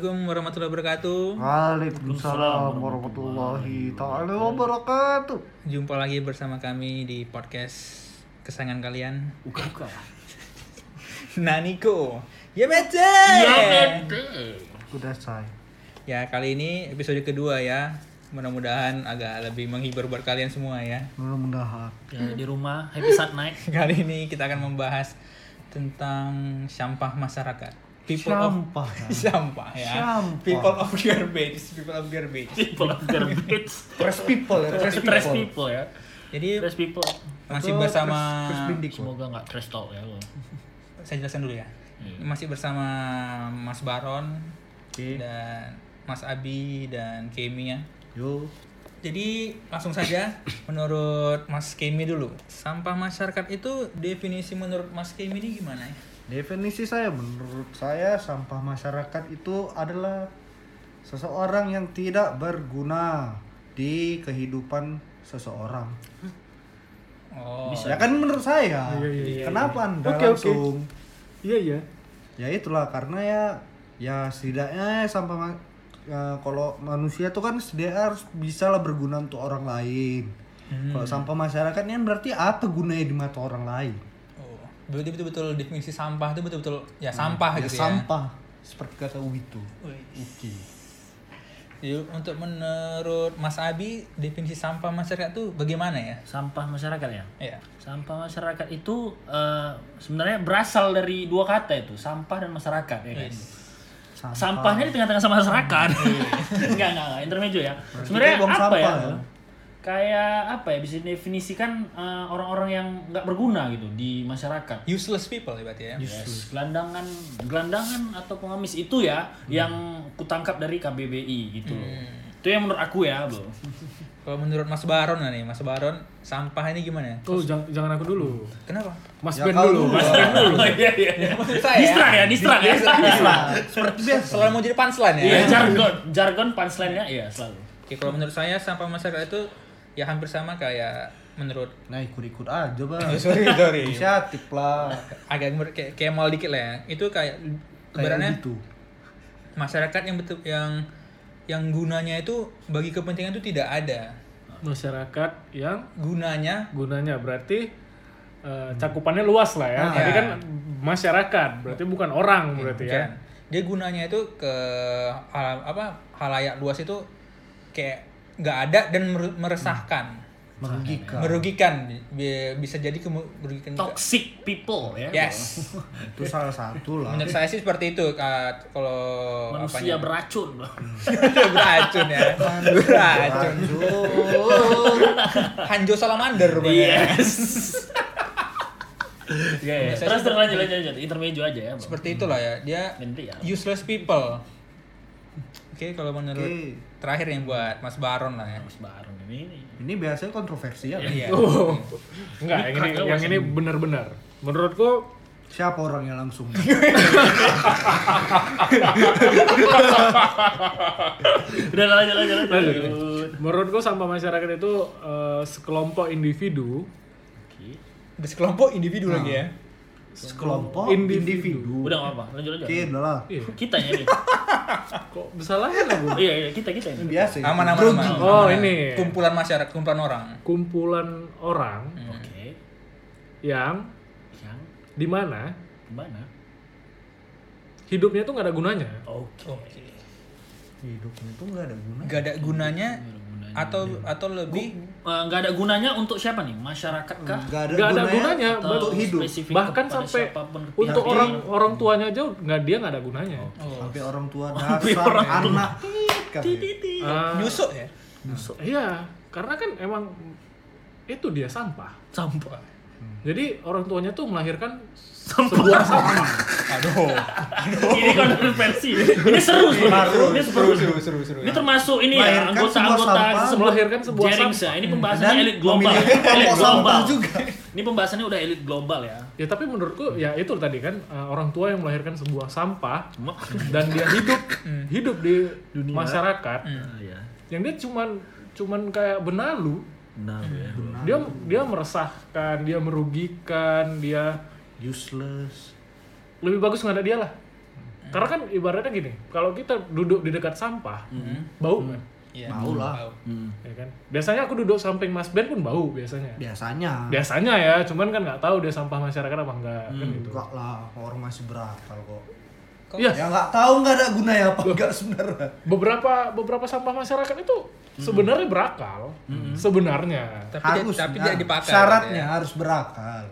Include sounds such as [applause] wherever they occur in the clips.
warahmatullahi wabarakatuh. Waalaikumsalam warahmatullahi taala wabarakatuh. Jumpa lagi bersama kami di podcast kesayangan kalian. Uka-uka. Naniko. Ya bete. Udah say. Ya kali ini episode kedua ya. Mudah-mudahan agak lebih menghibur buat kalian semua ya. [laughs] Mudah-mudahan. Ya, di rumah happy saat night. Kali ini kita akan membahas tentang sampah masyarakat. Sampah. of [laughs] sampah ya. Sampah. People of garbage, people of garbage. [laughs] People of garbage. Trash people ya, trash Trash people. people ya. Jadi Trash people. masih bersama Terus bindik. Semoga nggak trash talk ya lo. saya jelaskan dulu ya. Iya. Masih bersama Mas Baron dan Mas Abi dan Kemi ya. Yo. Jadi langsung saja [coughs] menurut Mas Kemi dulu. Sampah masyarakat itu definisi menurut Mas Kemi ini gimana ya? Definisi saya menurut saya sampah masyarakat itu adalah seseorang yang tidak berguna di kehidupan seseorang. Oh. Ya kan menurut saya. Kenapa Anda langsung Iya iya. ya itulah karena ya ya setidaknya sampai ya kalau manusia tuh kan dia harus bisa lah berguna untuk orang lain Hmm. kalau sampah masyarakat ini kan berarti apa gunanya di mata orang lain Oh. Berarti betul-betul definisi sampah itu betul-betul ya sampah ya gitu ya. sampah seperti kata Witu Wih. Uki Jadi untuk menurut Mas Abi definisi sampah masyarakat itu bagaimana ya? Sampah masyarakat ya. Ya. Sampah masyarakat itu eh, sebenarnya berasal dari dua kata itu, sampah dan masyarakat ya guys. Sampah. Sampahnya di tengah-tengah sama masyarakat. [laughs] Enggak enggak enggak, intermejo ya. Sebenarnya kita buang apa sampah ya? ya? Kayak apa ya bisa didefinisikan eh, orang-orang yang nggak berguna gitu di masyarakat. Useless people ya berarti ya. Yes, gelandangan, gelandangan atau pengemis itu ya yang kutangkap dari KBBI gitu loh. Itu yang menurut aku ya, Bro. Kalau menurut Mas Baron lah nih, Mas Baron sampah ini gimana? Oh jangan, jangan aku dulu. Kenapa? Mas Ya, Ben kau dulu. dulu. Mas Ben dulu. Iya, iya, iya. Maksud saya. Iya, Distra ya, distra ya. seperti biasa Selalu mau jadi punchline ya. Iya, jargon, jargon punchline-nya iya selalu. Oke, kalau menurut saya sampah masyarakat itu ya hampir sama kayak menurut nah ikut ikut aja [laughs] bang sorry sorry inisiatif lah agak mer- kayak, kayak mal dikit lah ya. Itu kayak kayak ibaratnya gitu masyarakat yang betul yang yang gunanya itu bagi kepentingan itu tidak ada. Masyarakat yang Gunanya gunanya berarti eh, cakupannya luas lah ya. Tadi ya. kan masyarakat, berarti bukan orang berarti ya. Bukan. Dia gunanya itu ke hal- apa halayak luas itu kayak nggak ada dan mer- meresahkan, Hmm. merugikan merugikan Bi- bisa jadi kemu- merugikan juga. Toxic people ya. Yes. itu salah satu lah Menurut saya sih seperti itu Kak. kalau Bro. Manusia Oh, apanya? beracun, Bro. [laughs] beracun ya. beracun. Aduh. Hanjo salamander Bang. Yes. Iya, iya. Biasanya Terus terus lanjut lanjut lanjut. Intermedio aja ya, Bro. Seperti itulah ya. Dia Ganti ya. useless people. Oke, kalau menurut Hmm. Oke. terakhir yang buat Mas Baron lah ya. Mas Baron ini. ini biasanya kontroversi ya Iya. Enggak, yang ini yang ini benar-benar. Menurutku siapa orangnya langsung Udah lanjut lanjut lanjut. lanjut. Menurutku sampah masyarakat itu eh, sekelompok individu Oke. Di sekelompok individu Ah. lagi ya. sekelompok individu. Individu. Udah nggak apa-apa, lanjut lanjut. Oke, udah lah. Kita ya nih. kok besarnya lah Bu? Iya, iya, kita kita ini. Biasa. ya. Aman aman Grogi. aman. Oh, Aman. ini. Kumpulan masyarakat, kumpulan orang. Kumpulan orang Oke. yang Yang dimana gimana? hidupnya tuh nggak ada gunanya. Oke. Hidupnya tuh nggak ada guna. Gak ada gunanya atau atau lebih Eh, Nggak ada gunanya untuk siapa nih? Masyarakat kah? Nggak ada, Nggak ada gunanya. gunanya. Atau untuk hidup. spesifik Hmm. Bahkan kepada sampai siapapun ketika untuk dia- orang orang tuanya aja nggak dia nggak ada gunanya. Sampai orang tua dasar, orang tua. anak, kan. Ah, nyusuk ya? Iya, karena kan emang itu dia sampah. sampah. Jadi orang tuanya tuh melahirkan Sampah. Aduh. [laughs] ini [laughs] kontroversi. Ini seru seru. Ini seru. seru seru seru. Ini termasuk ini ya Melahirkan anggota-anggota sebuah sampah, sebelum melahirkan sebuah Jerings sampah. ya. Ini pembahasannya elit global. memiliki Elit kelompok global. sampah juga. Ini pembahasannya udah elit global ya. Ya tapi menurutku ya itu tadi kan eh, orang tua yang melahirkan sebuah sampah Cuma dan dia hidup hidup di masyarakat ya. yang dia cuman cuman kayak benalu. Benar ya. Dia dia meresahkan, dia merugikan, dia Useless. lebih bagus nggak ada dia lah. Karena kan ibaratnya gini, kalau kita duduk di dekat sampah, bau kan? Iya. Bau lah. Bau. Ya kan? Biasanya aku duduk samping Mas Ben pun bau biasanya. Ya. biasanya Biasanya ya, cuman kan nggak tahu dia sampah masyarakat apa enggak kan gitu. enggak lah orang masih berakal kok Kok- Iya. ya nggak tahu nggak ada gunanya apa enggak sebenarnya Beberapa beberapa sampah masyarakat itu sebenarnya berakal, sebenarnya. Tapi harus ya. dia, tapi dia dipakai. syaratnya ya. harus berakal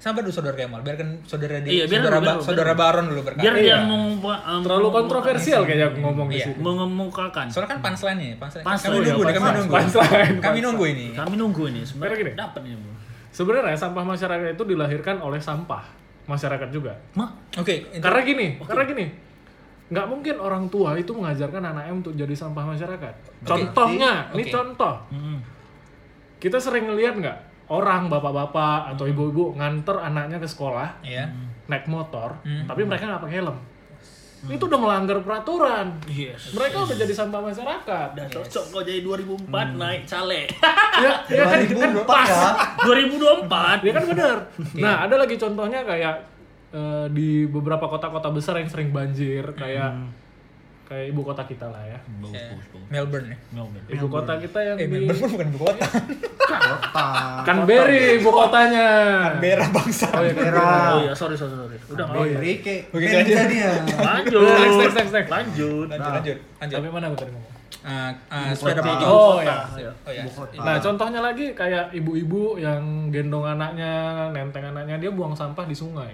Sabar dulu saudara Kemal, biarkan saudara di Iya, biar saudara, dulu, Ba- biar dulu. saudara Baron dulu berkata. Biar dia eh, Iya. meng- em, Terlalu kontroversial kayaknya aku ngomong di Iya. sini. mengemukakan. Soalnya kan punchline nih, punchline. Punchline, Kami iya, nunggu nih, kami punchline, nunggu. punchline, Kami punchline. nunggu ini. Kami nunggu ini Karena gini. sebenarnya dapat ini. Bu. Sebenarnya sampah masyarakat itu dilahirkan oleh sampah masyarakat juga. Mak, Oke, itu- Karena gini, karena gini. Nggak mungkin orang tua itu mengajarkan anaknya untuk jadi sampah masyarakat. Contohnya, Oke. ini contoh. Hmm. Kita sering ngeliat nggak orang bapak-bapak atau ibu-ibu nganter anaknya ke sekolah ya. naik motor, Hmm. tapi mereka nggak pakai helm. Itu udah melanggar peraturan. yes. Mereka udah jadi sampah masyarakat. Udah cocok kau jadi 2004 naik cale. [laughs] ya, ya kan, kan 2004 pas. ya 2024. Ya kan bener. Nah, ada lagi contohnya kayak eh, di beberapa kota-kota besar yang sering banjir, kayak kayak ibu kota kita lah ya. Ya. Hmm. Melbourne ya. Ibu kota kita yang Eh, di Melbourne bukan ibu kota. Iya. kota Canberra ibu kotanya. Canberra bangsa. Oh iya, merah Oh iya, sorry sorry sorry. Udah Kan Oh, nggak apa-apa. Rike, Oke, Pengen lanjut. jadi ya. [laughs] Lanjut. Next, next, next, next. Lanjut. Lanjut, lanjut, lanjut. Sampai mana aku tadi ngomong? Ah, ah, sepeda kota. motor. Oh, Kota. iya. Oh ya. Ibu kota. Nah, contohnya lagi kayak ibu-ibu yang gendong anaknya, nenteng anaknya, dia buang sampah di sungai.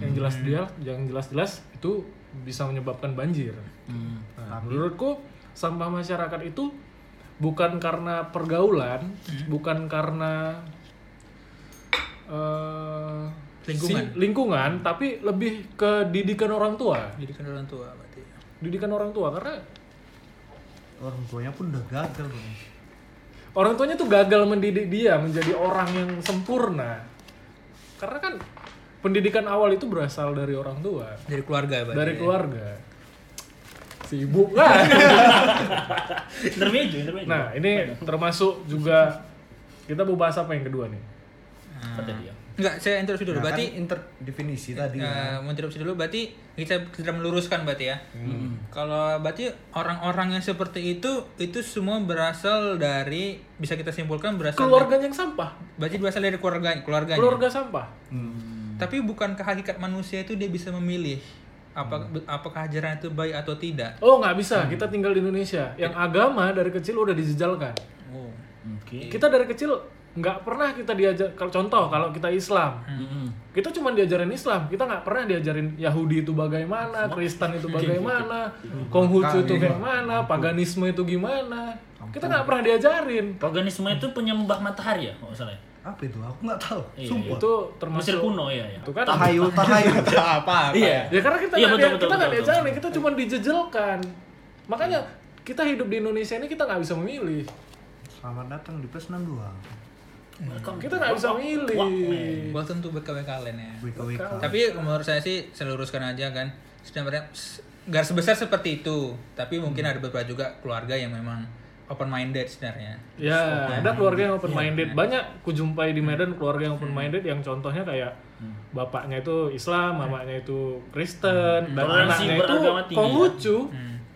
Yang jelas dia, yang jelas-jelas itu bisa menyebabkan banjir. Hmm. Nah, menurutku sampah masyarakat itu bukan karena pergaulan, bukan karena eh, Lingkungan. si- lingkungan, tapi lebih ke didikan orang tua. Jadi kan orang tua berarti. Didikan orang tua karena Orang tuanya pun udah gagal Bang. orang tuanya tuh gagal mendidik dia menjadi orang yang sempurna karena kan pendidikan awal itu berasal dari orang tua Dari keluarga ya berarti. dari keluarga si ibu lah Interview aja, interview aja. nah ini termasuk juga kita mau bahas apa yang kedua nih Apa tadi ya? Enggak, saya interupsi dulu. Nah, Iya. berarti kan inter definisi tadi. eh, mau interupsi dulu berarti kita kita meluruskan berarti ya. Kalau berarti orang-orang yang seperti itu itu semua berasal dari bisa kita simpulkan berasal keluarganya yang sampah berarti berasal dari keluarga keluarganya. keluarga sampah Tapi bukankah hakikat manusia itu dia bisa memilih apa apakah ajaran itu baik atau tidak? oh nggak bisa kita tinggal di Indonesia yang agama dari kecil udah dijejalkan Oh. Oke. Iya. kita dari kecil nggak pernah kita diajar kalau contoh kalau kita Islam Mm-mm. kita cuma diajarin Islam kita nggak pernah diajarin Yahudi itu bagaimana Kristen [laughs] itu bagaimana Iya, Konghucu itu bagaimana paganisme itu gimana kita nggak pernah diajarin Paganisme itu penyembah matahari ya, kalau nggak salah. ya? Apa itu? Aku nggak tahu. Iya, Sumpah. itu Mesir termasuk kuno ya ya. itu kan Tahayul, tahayul. apa? Iya. ya karena kita Iya, betul, betul, nggak dia- kita nggak betul, betul, diajarin kita cuma dijejelkan makanya kita hidup di Indonesia ini kita nggak bisa memilih Selamat datang di PS 62. Welcome. kita nggak bisa milih Welcome to BKW kalian ya. WKWK. Tapi menurut saya sih saya luruskan aja kan. Sebenarnya s- garis besar seperti itu, tapi mungkin Hmm. ada beberapa juga keluarga yang memang open minded sebenarnya. Ya, ada keluarga yang open Iya. minded. Banyak kujumpai di Medan keluarga yang open Hmm. minded yang contohnya kayak bapaknya itu Islam, mamanya itu Kristen, Hmm. dan Toleransi anaknya itu beragama tinggi, kan? Hmm. Konghucu.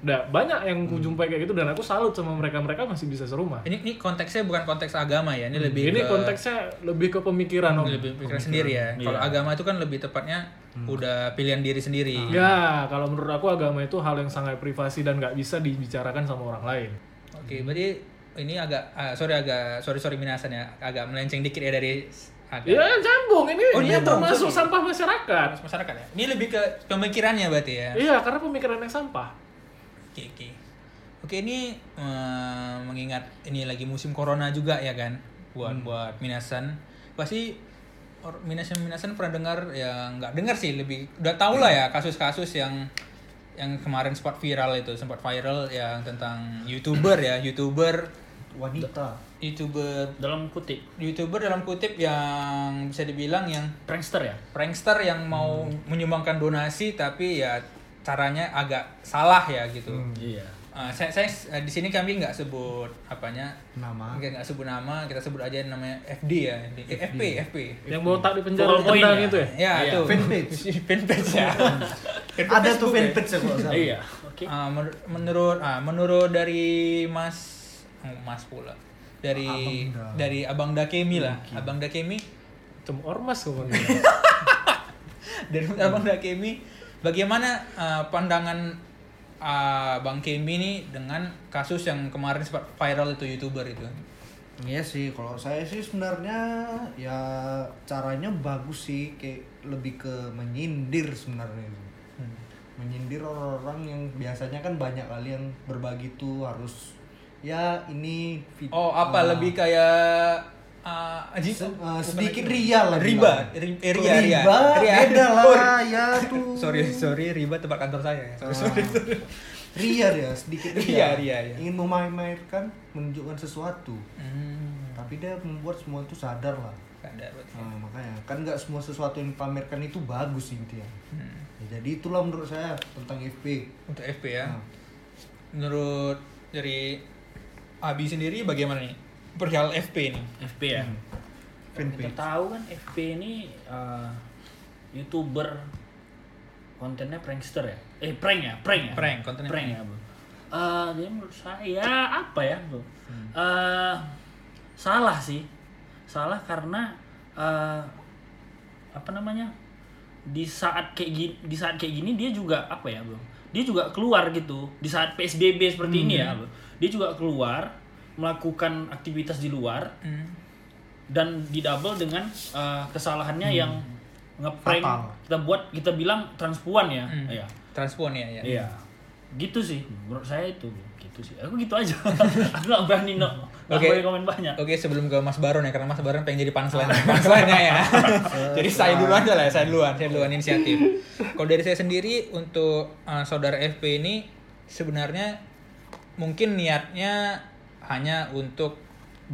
Nah, banyak yang kujumpai kayak gitu dan aku salut sama mereka. Mereka masih bisa serumah. Ini ini konteksnya bukan konteks agama ya, ini lebih ke Ini konteksnya Hmm. lebih ke pemikiran Iya. Hmm. Om. lebih pikiran sendiri ya. Kalau agama itu kan lebih tepatnya udah pilihan diri sendiri. Ya, kalau menurut aku agama itu hal yang sangat privasi dan nggak bisa dibicarakan sama orang lain. Oke, berarti ini agak ah, sorry agak sorry sorry minasan ya, agak melenceng dikit ya dari s- agak Ya, nyambung. Ini, Oh, ini nyambung, termasuk sorry. sampah masyarakat. masyarakat ya. Ini lebih ke pemikirannya berarti ya. Iya, karena pemikiran yang sampah. Oke, oke. Oke, ini eh, mengingat ini lagi musim corona juga ya kan buat buat minasan. Pasti or- minasan-minasan pernah dengar ya nggak dengar sih lebih udah tau lah ya kasus-kasus yang yang kemarin sempat viral itu sempat viral yang tentang youtuber ya youtuber Wanita. youtuber Dalam kutip youtuber dalam kutip yang bisa dibilang yang prankster ya. prankster yang mau menyumbangkan donasi tapi ya caranya agak salah ya gitu. Iya. Uh, saya, saya uh, di sini kami nggak sebut apanya Nama. mungkin nggak sebut nama kita sebut aja namanya FD ya FD. Eh, FP FP Yang botak di penjara Focal point tendang ya. itu ya. [laughs] ya Iya, itu fanpage. fanpage ya Ada tuh fanpage ya kalau nggak salah. Iya, oke. Ah, menur- menurut ah, menurut dari Mas oh, Mas pula dari Abang Da. dari Abang Dakemi lah Abang Dakemi Tem ormas [laughs] semuanya. [laughs] dari Abang Dakemi bagaimana ah, pandangan ah, Bang Kemi ini dengan kasus yang kemarin sempat viral itu youtuber itu Iya sih, kalau saya sih sebenarnya ya caranya bagus sih, kayak lebih ke menyindir sebenarnya. itu. Hmm. Menyindir orang-orang yang biasanya kan banyak kali yang berbagi tuh harus ya ini vid- oh apa eh, lebih kayak ah, Aji- se- eh, bukan sedikit Aji. ria lah. riba bilang. ri- eh, ria ria Riba, Ria. beda [laughs] Oh, lah ya tuh. [laughs] sorry sorry riba tempat kantor saya ya. Ah. Ria ya, sedikit Ria, ria. ria, ria. Ingin memamerkan menunjukkan sesuatu, Hmm, tapi dia membuat semua itu sadar lah. sadar betul. Nah, makanya kan nggak semua sesuatu yang dipamerkan itu bagus intinya. Hmm. Ya, jadi itulah menurut saya tentang FP. Untuk FP ya. Nah, Menurut dari Abi sendiri bagaimana nih? Perihal FP ini. FP ya. Hmm. Yang Kita tahu kan FP ini eh, YouTuber kontennya prankster ya. Eh prank ya, prank ya. Prank, kontennya prank ya, prank. Bro. Eh, jadi menurut saya apa ya, Bro? Hmm. Eh, salah sih. Salah karena eh, apa namanya? Di saat kayak gini, di saat kayak gini dia juga apa ya, Bro? Dia juga keluar gitu. Di saat PSBB seperti Hmm. ini ya, Bro. Dia juga keluar melakukan aktivitas di luar Hmm. dan didouble dengan uh, kesalahannya Hmm. yang ngeprank Fatal. kita buat kita bilang transpuan ya Hmm. iya Transpon ya ya. iya gitu sih menurut saya itu gitu sih aku gitu aja [laughs] aku nggak berani no nggak Oke. boleh komen banyak Oke, sebelum ke Mas Baron ya karena Mas Baron pengen jadi punchline. [laughs] Punchline-nya ya. jadi saya duluan aja lah, ya, saya duluan, saya duluan inisiatif. Kalau dari saya sendiri untuk uh, saudara FP ini sebenarnya mungkin niatnya hanya untuk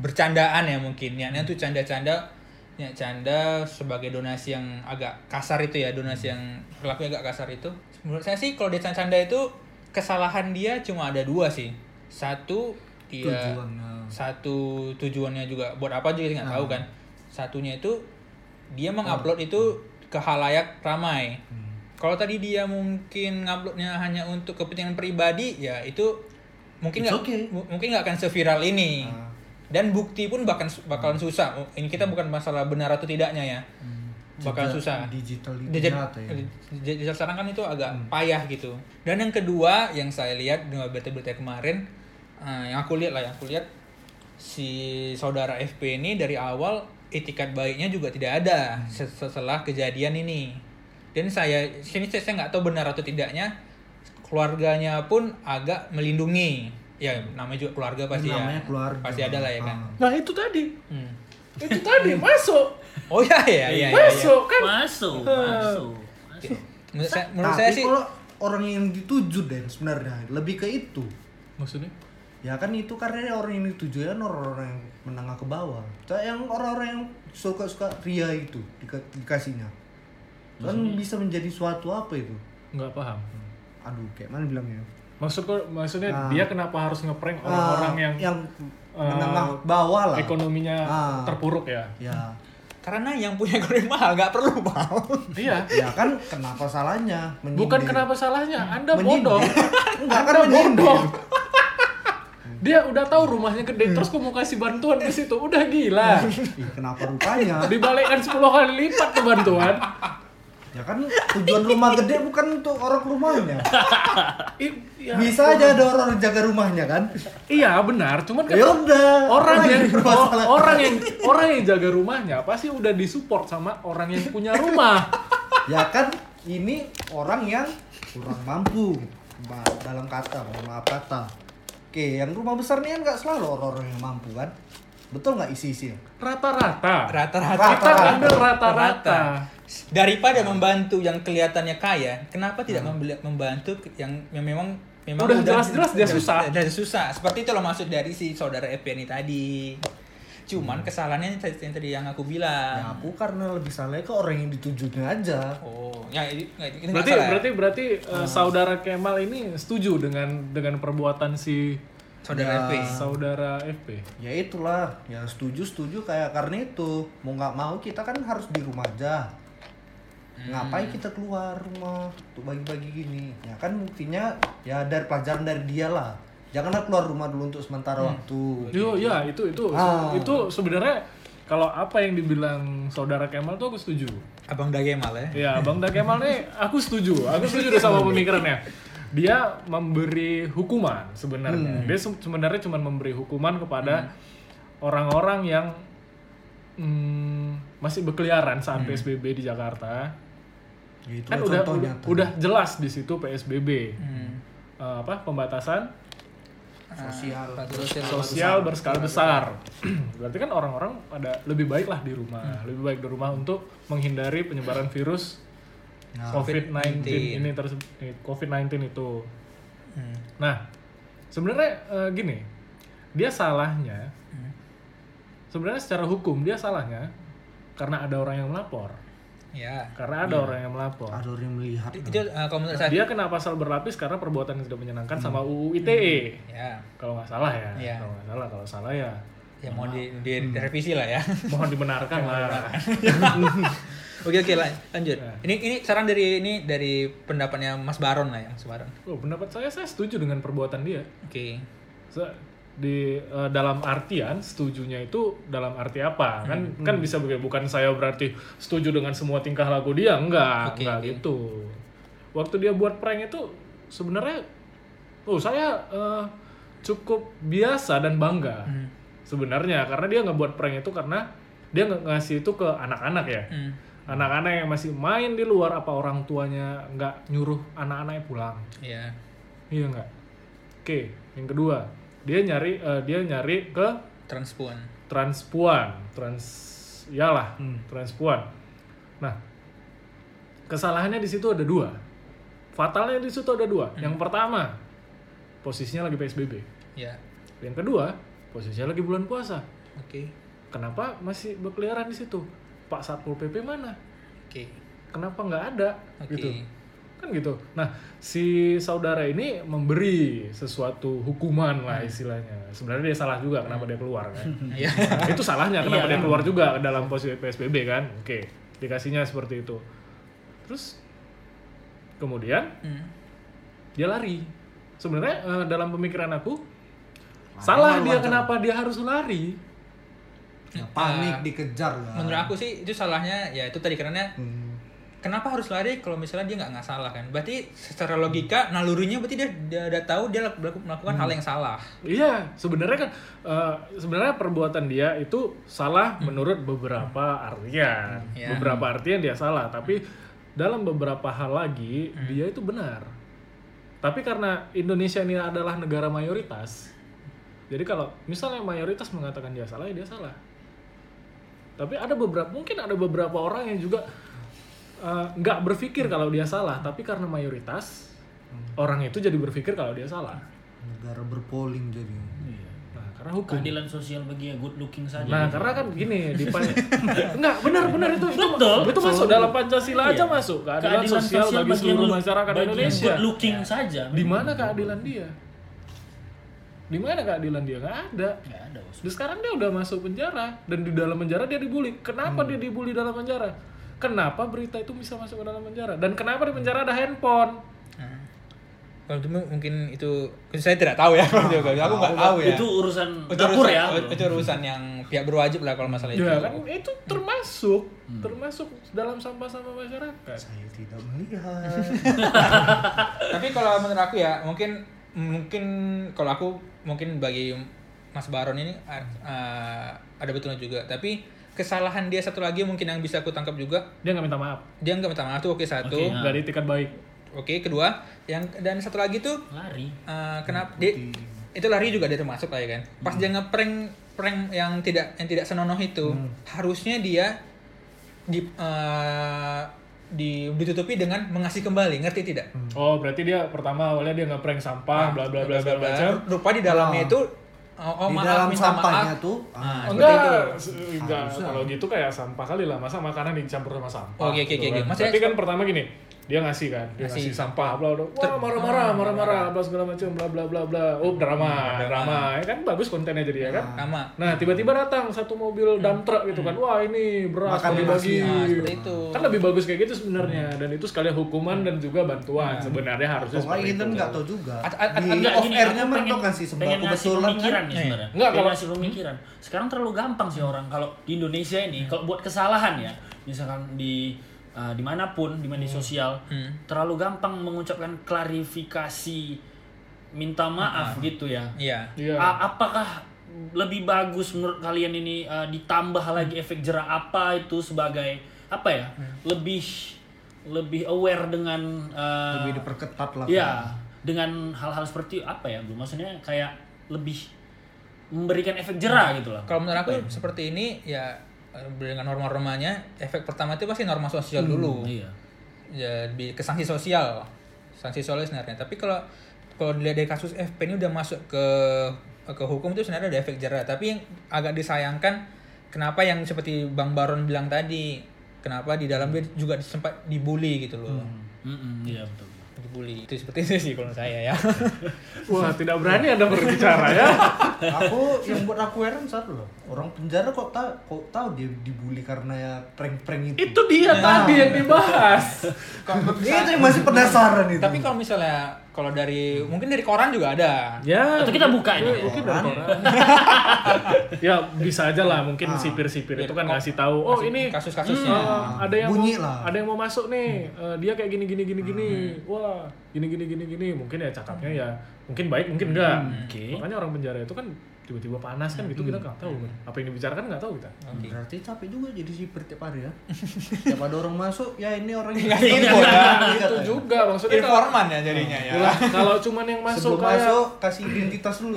bercandaan ya mungkin. Niatnya tuh canda-canda ya canda sebagai donasi yang agak kasar itu ya, donasi yang perilakunya agak kasar itu. Menurut saya sih kalau dia canda itu kesalahan dia cuma ada dua sih. Satu dia Tujuan, nah. satu tujuannya juga buat apa juga kita nggak Hmm. tahu kan satunya itu dia mengupload itu ke halayak ramai Hmm. kalau tadi dia mungkin nguploadnya hanya untuk kepentingan pribadi ya itu mungkin It's nggak okay. mu- mungkin nggak akan seviral ini Ah. dan bukti pun bahkan bakalan Hmm. susah ini kita bukan masalah benar atau tidaknya ya bakal Jejak susah Digital Jejak- digital ya. jejak digital sekarang kan itu agak Hmm. payah gitu dan yang kedua yang saya lihat dengan berita-berita kemarin eh, yang aku lihat lah yang aku lihat si saudara FP ini dari awal etikat baiknya juga tidak ada Hmm. se- setelah kejadian ini dan saya sini saya saya nggak tahu benar atau tidaknya keluarganya pun agak melindungi ya namanya juga keluarga pasti Hmm. namanya ya keluarga. pasti ada lah ya kan Ah. Nah itu tadi, Hmm. itu tadi masuk, oh ya ya ya, ya, ya. masuk kan. masuk masuk masuk Menurut saya, menurut Tapi saya sih kalau orang yang dituju dan sebenarnya lebih ke itu. Maksudnya? Ya kan itu karena orang yang dituju kan orang-orang yang menengah ke bawah. Kayak yang orang-orang yang suka-suka ria itu dika- dikasihnya. Kan bisa menjadi suatu apa itu? Nggak paham. Aduh, kayak mana bilangnya? Maksudku, maksudnya Ah. dia kenapa harus ngeprank orang-orang Ah, yang, eh, menengah bawah lah. ekonominya Ah. terpuruk [laughs] ya? Ya, Karena yang punya goreng mahal nggak perlu mahal. Iya. ya kan kenapa salahnya? Menyindir. Bukan kenapa salahnya, Anda Menyindir. bodoh. [laughs] Enggak kan Anda menyindir. [laughs] bodoh. [laughs] Dia udah tahu rumahnya gede, Hmm. terus kok mau kasih bantuan ke situ, udah gila. [laughs] Ih, kenapa rupanya? Dibalikkan 10 kali lipat tuh bantuan. Ya kan tujuan rumah gede bukan untuk orang ke rumahnya. I- ya, Bisa aja ada orang yang jaga rumahnya kan? Iya benar, cuman kan Ya udah. orang yang lagi bermasalah. o- orang yang orang yang jaga rumahnya pasti udah disupport sama orang yang punya rumah. ya kan ini orang yang kurang mampu Ba- dalam kata mohon maaf kata oke yang rumah besar nih kan nggak selalu orang-orang yang mampu kan betul nggak Nah, isi isinya Rata-rata. Rata-rata Kita ambil rata-rata. daripada membantu yang kelihatannya kaya, kenapa tidak membeli- membantu ke- yang yang memang memang Hmm. Udah jelas-jelas dia udah- susah. udah susah. Seperti itu loh maksud dari si saudara FPN ini tadi. Cuman Hmm. kesalahannya yang tadi- yang tadi yang aku ya bilang. aku karena lebih salahnya ke orang yang ditujunya aja Oh, ya itu nggak- itu nggak Berarti salah. ya? berarti berarti eh, saudara Kemal ini setuju dengan dengan perbuatan si eh, saudara Ya. FP. saudara FP. ya itulah ya setuju setuju kayak karena itu mau nggak mau kita kan harus di rumah aja ngapain kita keluar rumah untuk bagi-bagi gini ya kan buktinya ya dari pelajaran dari dia lah janganlah keluar rumah dulu untuk sementara waktu Yo, ya itu itu Ah. itu sebenarnya kalau apa yang dibilang saudara Kemal tuh aku setuju. Abang Dagemal ya. Ya, Bang Da Kemal nih aku setuju. Aku setuju deh sama pemikirannya. Dia memberi hukuman sebenarnya. Dia se- sebenarnya cuma memberi hukuman kepada orang-orang yang mm, masih berkeliaran saat PSBB di Jakarta. Ya, itu kan lah udah contoh udah, nyata. udah jelas di situ PSBB. Hmm. Eh, apa pembatasan sosial Pak Sosial. sosial berskala besar. [clears throat] Berarti kan orang-orang ada lebih baik lah di rumah, lebih baik di rumah untuk menghindari penyebaran virus Ya. Nah, COVID-19 COVID-19. Ah, ini terse- eh, COVID-19 itu. Hmm. Nah, sebenarnya eh, gini, dia salahnya sebenarnya secara hukum dia salahnya karena ada orang yang melapor, Ya. karena ada orang yang melapor. ada orang yang melihat Itu eh, kalau menurut saya. Hmm. Dia kena pasal berlapis karena perbuatan yang tidak menyenangkan sama UU ITE. Ya. E. Kalau nggak salah ya, Iya. kalau nggak salah, kalau salah ya Ya mau di, di direvisi lah ya. mohon dibenarkan lah [laughs] Oke oke lah lanjut. Ini ini saran dari ini dari pendapatnya Mas Baron lah ya Mas Baron. oh, pendapat saya saya setuju dengan perbuatan dia Oke. Se- di eh, dalam artian setujunya itu dalam arti apa kan Hmm, kan bisa begitu bukan saya berarti setuju dengan semua tingkah laku dia enggak Oke, enggak oke. gitu waktu dia buat prank itu sebenarnya oh saya eh, cukup biasa dan bangga Hmm. sebenarnya karena dia ngebuat prank itu karena dia nge- ngasih itu ke anak-anak ya Hmm. anak-anak yang masih main di luar apa orang tuanya nggak nyuruh anak-anaknya pulang Ya. iya nggak oke yang kedua dia nyari eh, dia nyari ke Transpon. transpuan trans iyalah transpuan nah kesalahannya di situ ada dua fatalnya di situ ada dua yang pertama posisinya lagi psbb Ya. yang kedua posisinya lagi bulan puasa Oke. kenapa masih berkeliaran di situ pak satpol pp mana Oke. kenapa nggak ada Oke. gitu kan gitu nah si saudara ini memberi sesuatu hukuman lah Hmm. istilahnya sebenarnya dia salah juga kenapa dia keluar kan [laughs] Ya. itu salahnya kenapa Iya. dia keluar juga ke dalam posisi psbb kan oke dikasihnya seperti itu terus kemudian Hmm. dia lari sebenarnya eh, dalam pemikiran aku salah dia kenapa dia harus lari Nah, panik dikejar lah Menurut aku sih itu salahnya ya itu tadi karena Hmm. kenapa harus lari kalau misalnya dia nggak nggak salah kan? Berarti secara logika nalurinya berarti dia dia udah tahu dia laku- melakukan hal yang salah. Iya, sebenarnya kan eh, sebenarnya perbuatan dia itu salah menurut beberapa artian. Iya. Beberapa artian dia salah, tapi dalam beberapa hal lagi dia itu benar. Tapi karena Indonesia ini adalah negara mayoritas, jadi kalau misalnya mayoritas mengatakan dia salah, ya dia salah. Tapi ada beberapa mungkin ada beberapa orang yang juga eh, nggak berpikir kalau dia salah, tapi karena mayoritas orang itu jadi berpikir kalau dia salah. negara berpoling jadi Nah, karena hukum. keadilan sosial bagi yang good looking saja Nah, karena kan gini, di pan- [laughs] enggak benar-benar itu itu, Betul. itu masuk dalam Pancasila aja masuk keadilan, sosial, bagi seluruh yang lu- masyarakat bagi yang Indonesia. good looking saja Di mana keadilan dia? Di mana keadilan dia? Enggak ada. nggak ada bos Dan sekarang dia udah masuk penjara dan di dalam penjara dia dibully. Kenapa dia dibully dalam penjara? Kenapa berita itu bisa masuk ke dalam penjara? Dan kenapa di penjara ada handphone? Nah. Kalau itu mungkin itu saya tidak tahu ya. Kalau itu- kalau aku nggak tahu ya. itu urusan Itu dapur urusan- oh, ya Itu urusan yang pihak berwajib lah kalau masalah Nah, itu. Ya kan itu termasuk termasuk dalam sampah-sampah masyarakat. saya tidak melihat Tapi kalau menurut aku ya mungkin mungkin kalau aku mungkin bagi Mas Baron ini eh, ada betulnya juga. Tapi kesalahan dia satu lagi mungkin yang bisa aku tangkap juga Dia nggak minta maaf. dia nggak minta maaf tuh oke satu. Oke Oke, nah. Nggak ada etikat baik. kedua yang dan satu lagi tuh lari eh, kenapa dia itu lari juga dia termasuk lah ya kan. Pas Hmm. dia ngeprank prank yang tidak yang tidak senonoh itu Hmm. harusnya dia di eh, di ditutupi dengan mengasih kembali ngerti tidak? Hmm. Oh, berarti dia pertama awalnya dia nge-prank sampah, bla Ah, bla bla bla bla. macam. Rupa di dalamnya Ah. itu oh, oh, di maaf, dalam minta sampahnya maaf. tuh ah, Ah, seperti Oh, itu. enggak, se- enggak. Harusnya. Kalau gitu kayak sampah kali lah. Masa makanan dicampur sama sampah? Oke, oke, oke, gitu oke. kan. iya, Maksudnya- Tapi kan pertama gini, dia ngasih kan dia Ngasih. ngasih, sampah bla bla wah marah-marah Ah, marah-marah bla segala macam bla bla bla bla oh drama drama ya kan bagus kontennya jadi ya kan Sama. nah tiba-tiba datang satu mobil dump truck gitu kan wah ini beras Makan bagi Nah, seperti itu. kan lebih bagus kayak gitu sebenarnya dan itu sekali hukuman dan juga bantuan sebenarnya harusnya Kalau seperti kita itu kan. nggak tahu juga. At- at- at- Di enggak, off Iya, gini, airnya aku mereka kan sih pengen sembako ngasih betulan kan. pemikiran nih Iya. sebenarnya. Enggak, Pengen kalau- ngasih pemikiran. Sekarang terlalu gampang sih orang kalau di Indonesia ini kalau buat kesalahan ya, misalkan di eh, dimanapun di media sosial Hmm. terlalu gampang mengucapkan klarifikasi minta maaf Ah. gitu ya. Iya. Iya. A- apakah lebih bagus menurut kalian ini eh, ditambah Hmm. lagi efek jerak apa itu sebagai apa ya? Lebih lebih aware dengan eh, Lebih diperketat lah. Iya, dengan hal-hal seperti apa ya, Bu? Maksudnya kayak lebih memberikan efek jera gitu lah. Kalau menurut aku seperti ini ya eh, dengan norma-normanya efek pertama itu pasti norma Hmm, sosial dulu. Iya. ya di ke sanksi sosial sanksi sosial sebenarnya tapi kalau kalau dilihat dari kasus FP ini udah masuk ke ke hukum itu sebenarnya ada efek jerah tapi yang agak disayangkan kenapa yang seperti Bang Baron bilang tadi kenapa di dalam dia juga sempat dibully gitu loh Mm-mm, iya betul. dibully itu seperti itu sih kalau menurut saya ya wah tidak berani anda berbicara ya aku yang buat aku heran satu loh. Orang penjara kok tahu kok tahu dia dibully karena ya prank-prank itu. [laughs] itu dia tadi yang dibahas Itu yang masih penasaran itu. [laughs] tapi kalau misalnya kalau dari mungkin dari koran juga ada ya Atau kita buka ini. mungkin dari koran. [laughs] ya bisa aja lah mungkin sipir-sipir itu kan ngasih tahu oh ini kasus-kasusnya. eh, ada yang Bunyi mau, lah. ada yang mau masuk nih eh, dia kayak gini gini gini gini wah gini gini gini gini mungkin ya cakapnya ya mungkin baik mungkin enggak Oke. makanya orang penjara itu kan tiba-tiba panas kan gitu kita nggak tahu kan. apa yang dibicarakan nggak tahu kita Oke. Berarti capek juga jadi sipir tiap hari ya. tiap ada orang masuk, Iya, ya ini orang yang Nggak info ya. itu juga maksudnya kalau- informan ya jadinya ya Yalah, Iya. kalau cuman yang masuk Sebelum kayak masuk kasih identitas dulu.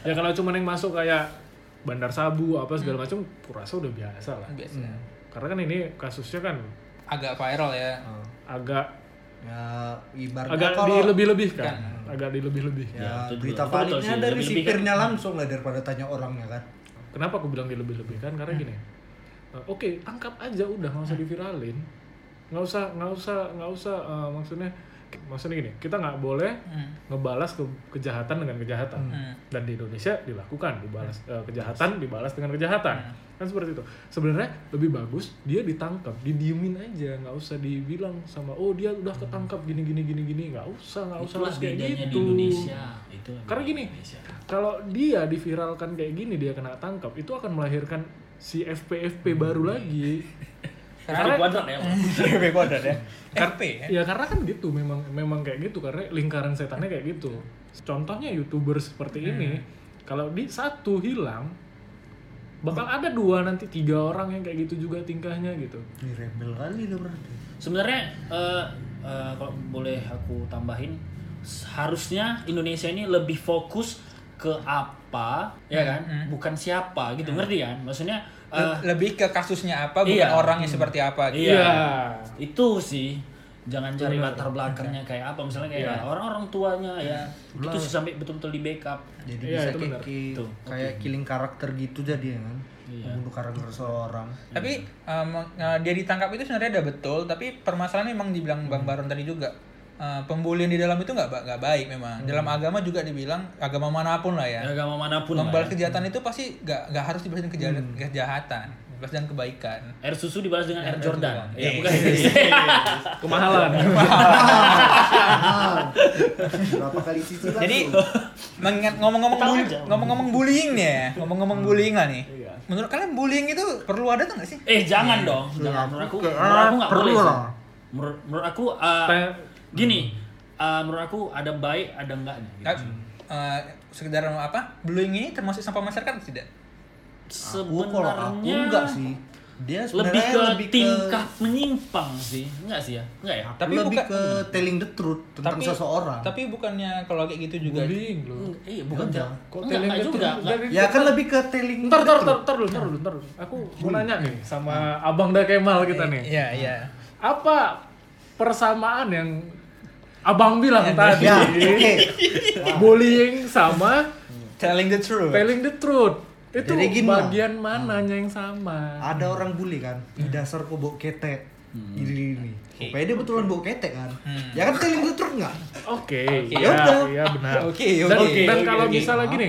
ya kalau cuman yang masuk kayak bandar sabu apa segala macam kurasa udah biasa lah biasanya Iya. karena kan ini kasusnya kan agak viral ya agak ya ibaratnya agak Iya. kalau dilebih-lebihkan agak dilebih-lebihkan ya, itu juga. berita Betul validnya sih, dari lebih-lebih sipirnya langsung lah daripada tanya orangnya kan. kenapa aku bilang dilebih-lebihkan karena gini eh, oke tangkap aja udah nggak usah diviralin nggak usah nggak usah nggak usah eh, maksudnya maksudnya gini kita nggak boleh Hmm. ngebalas ke- kejahatan dengan kejahatan [laughs] Hmm. dan di Indonesia dilakukan dibalas Hmm. eh, kejahatan dibalas dengan kejahatan kan seperti itu sebenarnya lebih bagus dia ditangkap didiemin aja nggak usah dibilang sama oh dia udah ketangkap gini gini gini gini nggak usah nggak usah Hmm. Itulah harus kayak bedanya di gitu. Indonesia. Itulah Karena bedanya gini. di Indonesia. kalau dia diviralkan kayak gini dia kena tangkap itu akan melahirkan si FPFP baru Hmm. lagi [laughs] Satu Karena- kuadrat ya. Bang. DP kuadrat ya RP ya ya karena kan gitu memang memang kayak gitu karena lingkaran setannya kayak gitu contohnya youtuber seperti ini kalau di satu hilang bakal ada dua nanti tiga orang yang kayak gitu juga tingkahnya gitu Ini rebel kali lah berarti. Sebenarnya eh, eh, kalau boleh aku tambahin harusnya Indonesia ini lebih fokus ke apa ya kan bukan siapa gitu ngerti kan maksudnya Iya. eh, Le- lebih ke kasusnya apa bukan iya. orangnya seperti apa gitu Iya. Ya. itu sih jangan cari latar belakangnya kayak apa misalnya kayak Iya. orang-orang tuanya ya Hmm. itu sih sampai betul-betul di backup Jadi Iya, bisa itu kayak, benar. ki- Tuh, kayak killing karakter gitu jadi ya kan. Membunuh karakter seorang. tapi em, eh, dia ditangkap itu sebenarnya udah betul tapi permasalahan memang dibilang Hmm. bang Baron tadi juga eh, pembulian di dalam itu nggak ba- nggak baik memang Hmm. dalam agama juga dibilang agama manapun lah ya agama manapun lah membalas ya. kejahatan itu pasti nggak nggak harus dibalas dengan kejahatan Hmm. kejahatan dibalas dengan kebaikan air susu dibalas dengan air Jordan. Jordan Iya. ya Yes. bukan [laughs] kemahalan Ah, berapa kali cicilan Jadi tuh? mengingat ngomong-ngomong Tahu bully- aja. ngomong-ngomong bullying nih ya, ngomong-ngomong bullying lah nih. Iya. Menurut kalian bullying itu perlu ada tuh nggak sih? eh jangan dong jangan menurut aku menurut aku nggak Iya. Perlu boleh sih. lah. Hmm. menurut menurut aku eh, Kayak- gini eh, menurut aku ada baik ada enggaknya gitu. Nggak, eh, sekedar apa? Bullying ini termasuk sampah masyarakat atau tidak? Aku kalau aku sebenarnya enggak sih. Dia lebih sebenarnya ke tingkah menyimpang sih enggak sih ya enggak ya Tapi lebih bukan- ke telling the truth tentang Tapi- seseorang. Tapi bukannya kalau kayak gitu juga bullying Nah, loh Iya, bukan Enggak. enggak. Kok Enggak, telingnya enggak juga. tuh enggak. dari- ya kan lebih ke telling Ntar, ntar, ntar, ntar dulu, ntar dulu, ntar dulu. Aku mau nanya nih sama Abang Dakemal kita nih. Iya, iya. Apa persamaan yang Abang bilang [laughs] tadi? [laughs] Ya, oke. Bullying sama Telling the truth. telling the truth. Itu Jadi gini, bagian mananya yang sama? Ah. Ada orang bully kan, di dasar kobok ketek. Gini gini. Oke, dia betulan bawa ketek kan. Ya kan telling the truth nggak? Oke, Oke, ya, udah. iya benar. Oke, Dan, oke, dan oke, kalau oke. Ah, misalnya gini,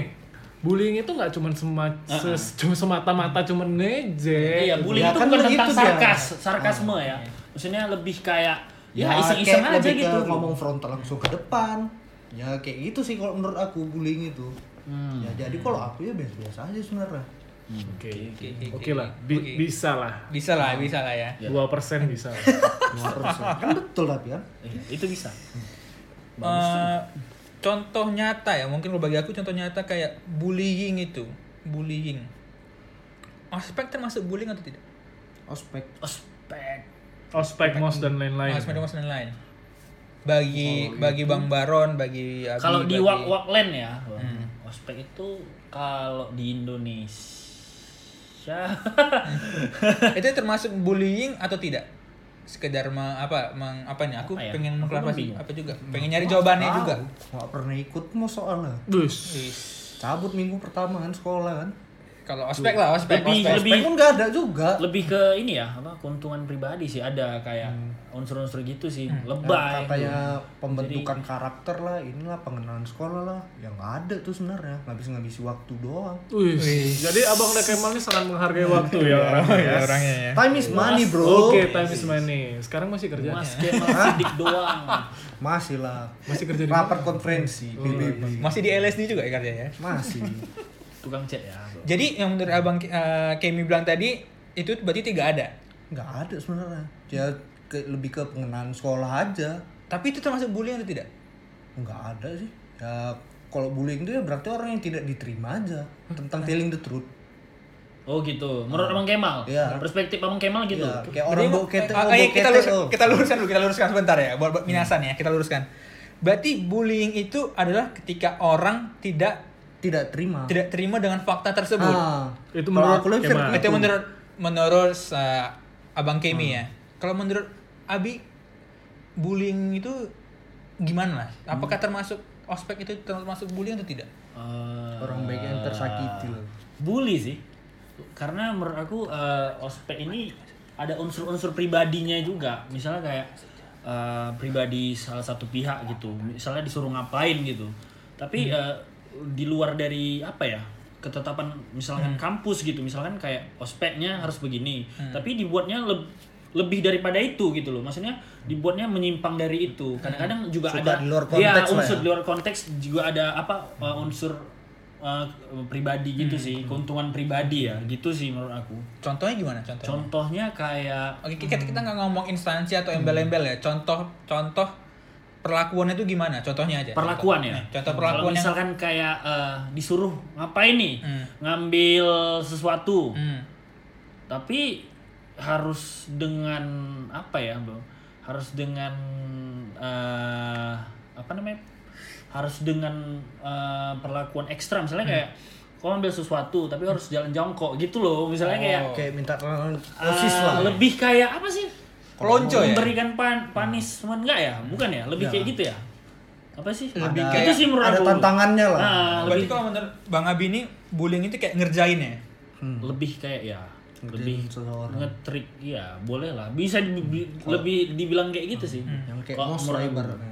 bullying itu nggak cuma sema, ses- cuma semata-mata cuma ngejek. Iya, bullying Ya, itu kan bukan begitu tentang dia. Ah. sarkas, sarkasme ya. Maksudnya lebih kayak ya iseng-iseng kayak aja lebih ke gitu. ngomong frontal langsung ke depan. Ya kayak gitu sih kalau menurut aku bullying itu. Hmm. Ya jadi kalau aku ya biasa-biasa aja sebenarnya. Oke, Oke, oke, oke lah, oke. Bi- Oke. bisa lah, Bisa lah, bisa lah ya. Ya. dua persen [laughs] bisa. lah. kan betul tapi kan. Iya, itu bisa. Eh, contoh nyata ya, mungkin kalau bagi aku contoh nyata kayak bullying itu, bullying. Ospek termasuk bullying atau tidak? Ospek. Ospek. Ospek mos dan lain-lain. Mas Medomos dan lain. Bagi bagi Bang Baron, bagi Abi, Kalau bagi- di walk walk land ya, Bang. Hmm. ospek itu kalau di [laughs] Indonesia [laughs] itu termasuk bullying atau tidak? Sekedar me- apa meng, apa nih? Aku Apa ya? pengen Aku mengklarifikasi bingung. apa juga. Pengen nyari jawabannya Tahu, juga. Nggak pernah ikut mau soalnya. Bus. Cabut minggu pertama kan sekolah kan. Kalau ospek lah, ospek, Lebih- ospek. Ospek pun nggak ada juga. lebih ke ini ya apa keuntungan pribadi sih ada kayak unsur-unsur gitu sih Hmm. Ya, lebay katanya pembentukan karakter lah, inilah pengenalan sekolah lah. Ya nggak ada tuh sebenarnya. Ngabis-ngabisi waktu doang. Wih. Jadi Abang Dekemal ini sangat menghargai waktu ya orangnya. Ya, orangnya ya. Time is money bro. [laughs] Oke, time is money. Sekarang masih kerja. [laughs] mas Kemal Sidik doang Masih lah. Masih kerja di Rapat konferensi PBB. Masih di LSD juga ya kerjanya ya. Masih. tukang cat ya Bang. Jadi yang menurut Abang eh, Kemi bilang tadi itu berarti tidak ada. Nggak ada sebenarnya. Ya ke- lebih ke pengenalan sekolah aja. Tapi itu termasuk bullying atau tidak? Nggak ada sih. Ya kalau bullying itu ya berarti orang yang tidak diterima aja tentang telling the truth. oh gitu menurut abang Kemal Iya. perspektif abang Kemal gitu Ya, kayak orang bawa ketek, Ah, bawa eh, kita, ketek, lurus- oh. kita luruskan dulu, kita luruskan sebentar ya, buat, buat minasan ya, kita luruskan. Berarti bullying itu adalah ketika orang tidak tidak terima. tidak terima dengan fakta tersebut. Ah, Itu kalau menurut Nah, aku lebih Kemal. seperti itu menurut menurut uh, Abang Kemi ya. Kalau menurut Abi bullying itu gimana? Apakah termasuk ospek itu termasuk bullying atau tidak? Eh, orang baik yang tersakiti loh. bully sih karena menurut aku eh, ospek ini ada unsur-unsur pribadinya juga misalnya kayak eh, pribadi salah satu pihak gitu misalnya disuruh ngapain gitu tapi eh, di luar dari apa ya ketetapan misalkan kampus gitu misalkan kayak ospeknya harus begini tapi dibuatnya leb- lebih daripada itu gitu loh maksudnya dibuatnya menyimpang dari itu kadang-kadang juga Suka ada di luar Iya, konteks lah unsur ya. di luar konteks juga ada apa uh, unsur uh, pribadi gitu Hmm. sih keuntungan pribadi ya gitu sih menurut aku Contohnya gimana? Contohnya? contohnya kayak Oke, kita kita nggak ngomong instansi atau embel-embel ya. Contoh contoh perlakuannya itu gimana? Contohnya aja. perlakuan ya Nah, Eh, Contoh kalau perlakuan yang misalkan kayak uh, disuruh ngapain nih Hmm. ngambil sesuatu Hmm. tapi harus dengan apa ya bro harus dengan eh, apa namanya harus dengan eh, perlakuan ekstra misalnya kayak kau ambil sesuatu tapi harus jalan jongkok gitu loh misalnya kayak Kayak minta tolong eh, Oh. osis lah. ya. lebih kayak apa sih Pelonco ya? memberikan pan punishment enggak ya bukan ya lebih kayak gitu ya apa sih Lebih Ada- kayak- itu sih menurut Nah, ada aku. tantangannya lah. Nah, Berarti lebih kalau menurut Bang Abi ini bullying itu kayak ngerjain ya. lebih kayak ya Ngerjain lebih seseorang. ngetrik ya boleh lah bisa di- bi- lebih dibilang kayak gitu sih yang kayak Kalau mos menurut lah aku. ibaratnya.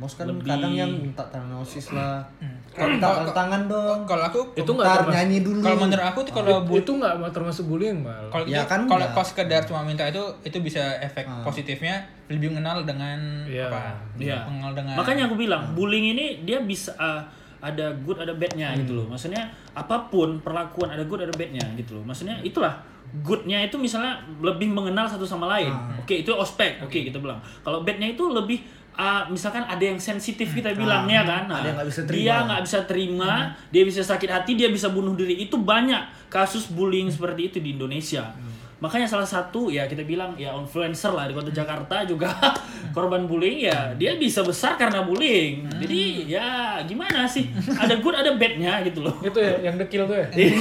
Mos kan Lebih- kadang yang minta tangan osis lah. Kalau- minta kalau- tangan dong. Kalau aku Itu nggak Ntar termasuk- nyanyi dulu. kalau menurut aku tuh kalau bu- itu nggak termasuk bullying mal. kalau Ya Ah. itu- kan kalau nggak. kau sekedar cuma minta itu itu bisa efek positifnya lebih mengenal dengan Iya. apa? Iya. Mengenal dengan makanya aku bilang Hmm. bullying ini dia bisa uh, ada good ada badnya Hmm. gitu loh maksudnya apapun perlakuan ada good ada badnya gitu loh maksudnya itulah goodnya itu misalnya lebih mengenal satu sama lain Ah. oke itu ospek oke kita bilang kalau badnya itu lebih uh, misalkan ada yang sensitif kita bilangnya kan Hmm. Nah, Ah. ada yang nggak bisa terima. dia nggak bisa terima dia bisa sakit hati dia bisa bunuh diri itu banyak kasus bullying seperti itu di Indonesia Hmm. makanya salah satu ya kita bilang ya influencer lah di kota Jakarta juga [laughs] korban bullying ya dia bisa besar karena bullying Hmm. jadi ya gimana sih ada good ada badnya gitu loh Itu ya yang dekil tuh ya. Iya,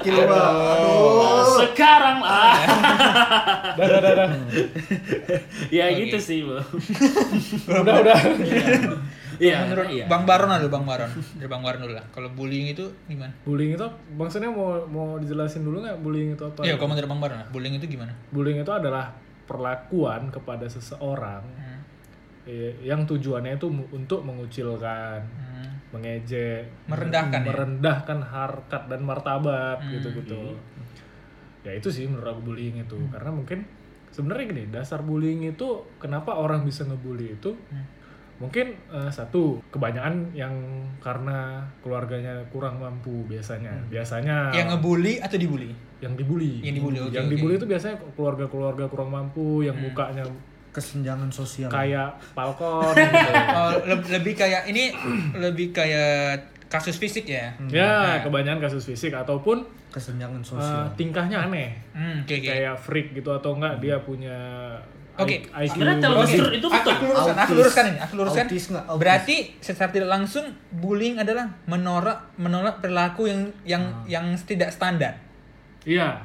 Gila, aduh. sekarang lah Oh. Dah, [laughs] dah, dah, dah. ya gitu sih bro Udah, udah. Iya, menurut iya. Bang Baron ada Bang Baron. Dari Bang Baron dulu lah. Kalau bullying itu gimana? Bullying itu maksudnya mau mau dijelasin dulu nggak bullying itu apa? Iya, kalau menurut Bang Baron lah, bullying itu gimana? Bullying itu adalah perlakuan kepada seseorang Hmm. eh, yang tujuannya itu mu- untuk mengucilkan, Hmm. mengejek, Merendahkan ya? Hmm, merendahkan harkat dan martabat gitu gitu. iya. Ya itu sih menurut aku bullying itu karena mungkin sebenarnya gini dasar bullying itu kenapa orang bisa ngebully itu Hmm. mungkin eh, satu kebanyakan yang karena keluarganya kurang mampu biasanya biasanya Hmm. Yang ngebully atau dibully? yang dibully Yang dibully, oke, yang oke. Hmm. dibully itu biasanya keluarga-keluarga kurang mampu yang mukanya kesenjangan sosial kayak [laughs] palkon gitu. Oh, le- lebih kayak ini [clears throat] lebih kayak kasus fisik ya. ya kebanyakan kasus fisik ataupun kesenjangan eh, sosial tingkahnya aneh Hmm, Oh, oke oke. kayak freak gitu atau enggak dia punya Oke. I- IQ Sebenarnya kalau berlebih. itu betul. Aku luruskan, aku Autis. luruskan ini, aku luruskan. Autis nggak? Autis. Berarti secara tidak langsung bullying adalah menolak menolak perilaku yang yang Ah. yang tidak standar. iya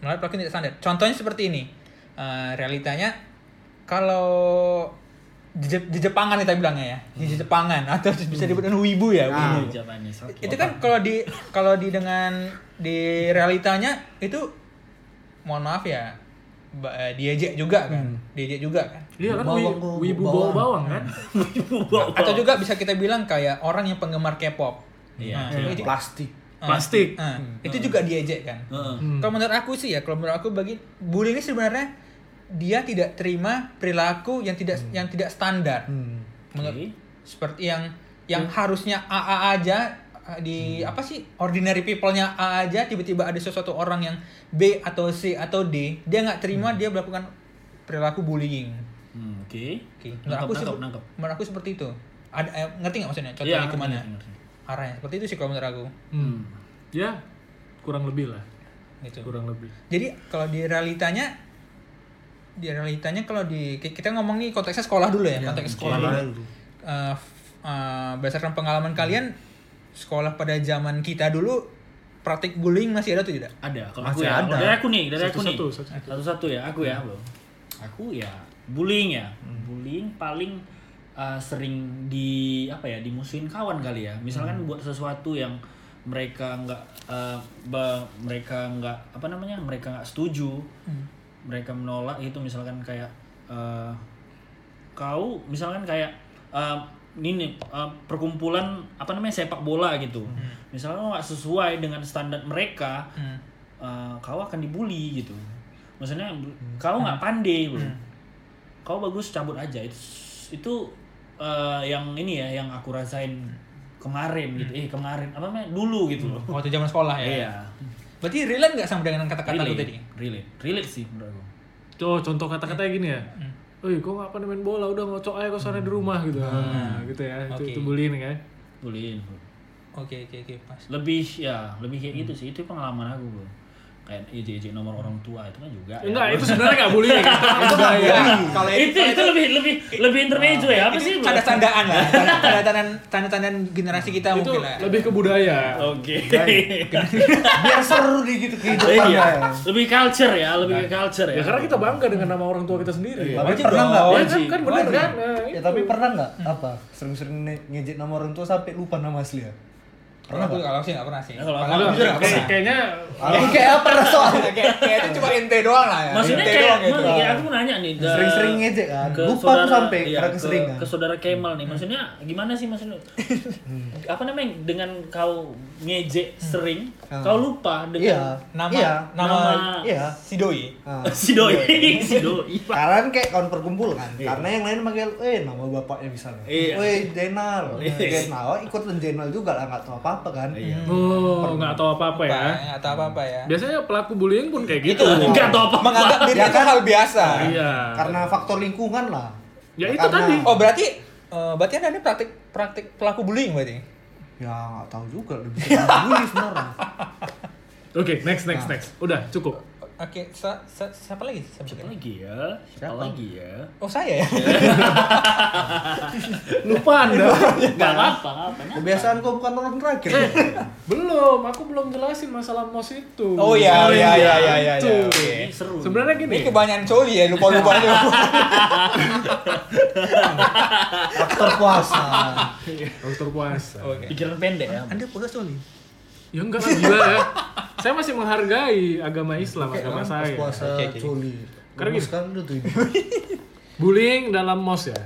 Menolak perilaku yang tidak standar. Contohnya seperti ini. Eh, realitanya kalau di, Je- di Jepangan kita bilangnya ya, di Hmm. Jepangan atau bisa disebut dengan wibu Nah, ya, wibu. Iya, Japanese. itu kan kalau di kalau di dengan di realitanya itu mohon maaf ya ba- eh, diejek juga kan Hmm. diejek juga kan iya kan Bawang, wi- bawang, wibu bawang. bawa bawang kan Hmm. atau juga bisa kita bilang kayak orang yang penggemar K-pop Iya, Nah, itu, plastik ah, [laughs] plastik ah, itu juga diejek kan Heeh. Hmm. kalau menurut aku sih ya kalau menurut aku bagi bullying ini sebenarnya dia tidak terima perilaku yang tidak yang tidak standar hmm. menurut seperti yang yang harusnya AA aja eh, di apa sih ordinary people-nya A aja tiba-tiba ada sesuatu orang yang B atau C atau D dia nggak terima dia melakukan perilaku bullying. Hmm, Oke. Oke, menurut Nangkep, aku nangkep, seperti- nangkep. menurut aku seperti itu. Ada eh, ngerti nggak maksudnya contohnya Iya, kemana ngerti, ngerti. arahnya seperti itu sih kalau menurut aku Hmm. ya kurang lebih lah gitu. kurang lebih Jadi kalau di realitanya di realitanya kalau di ki- kita ngomong nih konteksnya sekolah dulu Iya, ya, konteks sekolah dulu. Sekolah dulu. Eh, f- eh, berdasarkan pengalaman kalian sekolah pada zaman kita dulu praktik bullying masih ada atau tidak? Ada. Kalau aku Masih ya. ada. Hmm. Kalau Dari aku nih, dari aku nih. Satu-satu, satu-satu. Satu-satu ya, aku ya, Bro. Aku ya bullying ya. Bullying paling uh, sering di apa ya, dimusuhin kawan kali ya. Misalkan Hmm. buat sesuatu yang mereka nggak uh, be- mereka nggak apa namanya? Mereka nggak setuju. Hmm. Mereka menolak itu misalkan kayak uh, kau misalkan kayak um, ini nih, um, perkumpulan apa namanya sepak bola gitu Hmm. misalnya lo nggak sesuai dengan standar mereka Hmm. [laughs] uh, kau akan dibully gitu maksudnya kau nggak pandai bro kau bagus cabut aja itu itu uh, yang ini ya yang aku rasain kemarin gitu eh kemarin apa namanya dulu gitu loh Waktu zaman sekolah ya. iya Berarti relate nggak sama dengan kata-kata lu relate tadi? relate relate sih menurut aku Tuh, contoh kata-katanya gini ya. Hmm. Oi, kok nggak pandai main bola? Udah ngocok aja kau sana di rumah gitu. Nah, gitu ya. Hmm. Itu, Oke. itu bullying kan. bullying bro. Oke oke oke pas. lebih ya lebih kayak gitu sih itu pengalaman aku bro kayak ejek nomor orang tua itu kan juga ya. Enggak, itu sebenarnya nggak [laughs] bullying. Itu bahaya. Kalau itu itu lebih lebih lebih intermezzo ya apa sih bro? tanda tandaan [laughs] lah, tanda tandaan tanda tandaan generasi kita Itu mungkin lah. lebih ke budaya. [laughs] oke biar seru nih gitu kehidupan Iya, ya lebih culture ya lebih ke culture ya Ya karena kita bangga dengan nama orang tua kita sendiri. tapi Wajib pernah dong. nggak Ya wajib. kan, kan bener kan? Nah, ya tapi pernah nggak apa sering-sering ne- ngejek nama orang tua sampai lupa nama asli ya Pernah aku kalau sih nggak pernah sih. Ya, kalau aku Kalau aku itu. jujur nggak Kayak- pernah. Kayaknya Aku kayak pernah soalnya Kayak kayak itu cuma ente doang lah ya. maksudnya Ente kayak doang gitu. emang ya, aku mau nanya nih ke- sering-sering ngejek kan ke lupa saudara- aku sampai iya, karena ke- keseringan ke, saudara Kemal nih maksudnya gimana sih maksudnya apa namanya dengan kau ngejek sering Hmm. kau lupa iya dengan Nama iya nama Nama- iya si doi. Nah, [laughs] si doi si doi karena kan kayak kawan perkumpulan karena yang lain manggil eh nama bapaknya misalnya Iya. eh Jenal Iya. Jenal ikutan Jenal juga lah nggak tahu apa apa kan Iya. oh, nggak tahu apa-apa ya. Apa, Atau apa-apa ya. Biasanya pelaku bullying pun kayak gitu. Enggak tau apa Menganggap diri Ya itu kan? hal biasa. Iya. karena faktor lingkungan lah Ya, itu karena- tadi. Oh berarti eh, berarti anda ini praktik praktik pelaku bullying berarti? ya nggak tahu juga lebih bisa bully sebenarnya Nah. Oke, next next next. Udah, cukup. Oke, sa- sa- siapa lagi? Siapa subjeknya? lagi ya? Siapa, Siapa? lagi ya? Oh saya ya. Lupa Anda. Gak apa apa Kebiasaan kok bukan orang terakhir. Eh. belum, aku belum jelasin masalah mos itu. [laughs] Oh iya, iya, iya, iya, iya, Itu. iya, oke. Ini seru. Sebenarnya Ini gini. kebanyakan cowok ya lupa [laughs] lupa Faktor puasa. Faktor Iya. puasa. Oke. pikiran pendek ya. Anda puasa soalnya. Ya enggak lah gila ya. Saya masih menghargai agama Islam, agama Orang saya. gitu. pas puasa Oke, oke. coli. Karena Lemes gini. kan udah [laughs] tuh. Bullying dalam mos ya.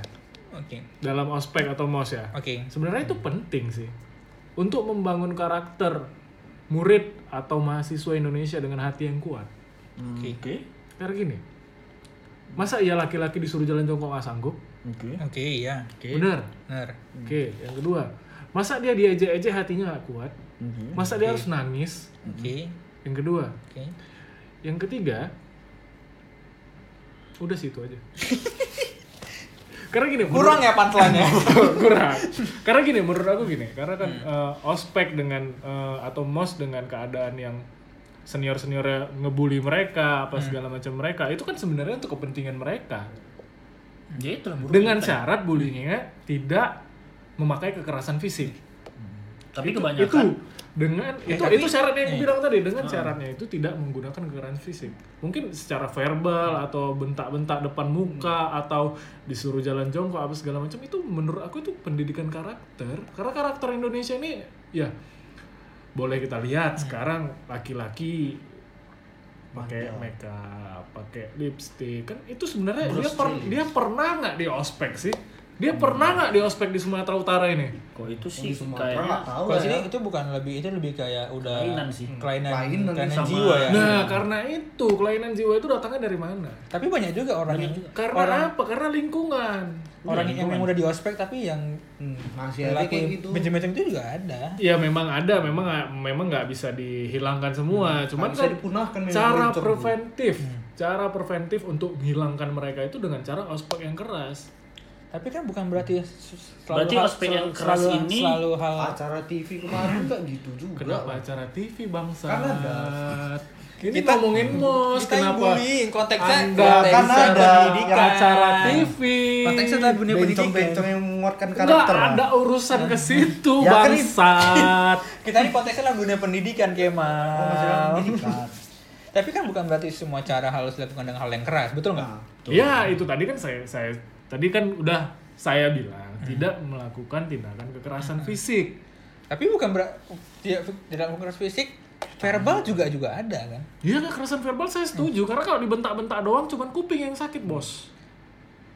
Oke, Dalam ospek atau mos ya. oke. Sebenarnya itu penting sih. Untuk membangun karakter murid atau mahasiswa Indonesia dengan hati yang kuat. Oke. Karena gini. Masa iya laki-laki disuruh jalan jongkok nggak sanggup? Oke. Oke, iya. Bener. Benar. Oke, yang kedua. Masa dia diejek-ejek hatinya nggak kuat? Hmm, Masa dia harus nangis? Oke, Yang kedua. oke. Yang ketiga, udah sih itu [laughs] aja. karena gini, menurut- Kurang ya pantelannya. [laughs] kurang. Karena gini, menurut aku gini, karena kan eh, ospek dengan eh, atau mos dengan keadaan yang senior seniornya ngebully mereka apa segala macam mereka itu kan sebenarnya untuk kepentingan mereka Ya itulah buruk. dengan syarat bullyingnya tidak memakai kekerasan fisik Tapi itu, kebanyakan itu dengan itu tapi- itu syarat yang aku bilang tadi dengan syaratnya itu tidak menggunakan gerakan fisik mungkin secara verbal atau bentak-bentak depan muka atau disuruh jalan jongkok apa segala macam itu menurut aku itu pendidikan karakter karena karakter Indonesia ini ya boleh kita lihat sekarang laki-laki pakai makeup pakai lipstick kan itu sebenarnya dia per- dia pernah nggak di ospek sih dia pernah nggak di ospek di Sumatera Utara ini kok itu sih Di Sumatera nggak kayaknya tahu Kalau lah ya. sini itu bukan lebih itu lebih kayak udah Kelainan sih. Kelainan, Kelainan kelainan sama- jiwa ya. Nah, karena itu kelainan jiwa itu datangnya dari mana? Tapi banyak juga orang yang Karena apa? Karena lingkungan. orang yang emang udah di ospek tapi yang Hmm, masih aja kayak melakukan gitu. macam-macam itu juga ada. Ya memang ada, memang memang nggak bisa dihilangkan semua. Nggak Cuman bisa kan dipunahkan memang cara bencong. gitu. preventif, cara preventif untuk menghilangkan mereka itu dengan cara ospek yang keras. Tapi kan bukan berarti s- selalu Berarti hal- ospek yang selalu- keras selalu, ini- selalu hal Acara TV kemarin nggak gitu juga. Kenapa acara TV bangsa? Kan ada. Ini Kita- Hmm. ngomongin mos, kita yang kenapa? bullying, konteksnya- Anda kan konteksnya ada pendidikan. yang acara TV. konteksnya tentang dunia pendidikan. Bencong-bencong yang menguatkan Nggak karakter. lah. ada urusan ke situ, Ya kan ini- bangsat. Kita ini konteksnya dalam dunia pendidikan, Kemal. Oh, masih dalam pendidikan. Tapi kan bukan berarti semua cara harus dilakukan dengan hal yang keras, betul nggak? Nah, Ya itu tadi kan saya saya tadi kan udah saya bilang Hmm. tidak melakukan tindakan kekerasan fisik. Tapi bukan berarti tidak tidak melakukan keras fisik, Hmm. verbal juga juga ada kan. Ya kekerasan verbal saya setuju karena kalau dibentak-bentak doang cuman kuping yang sakit bos.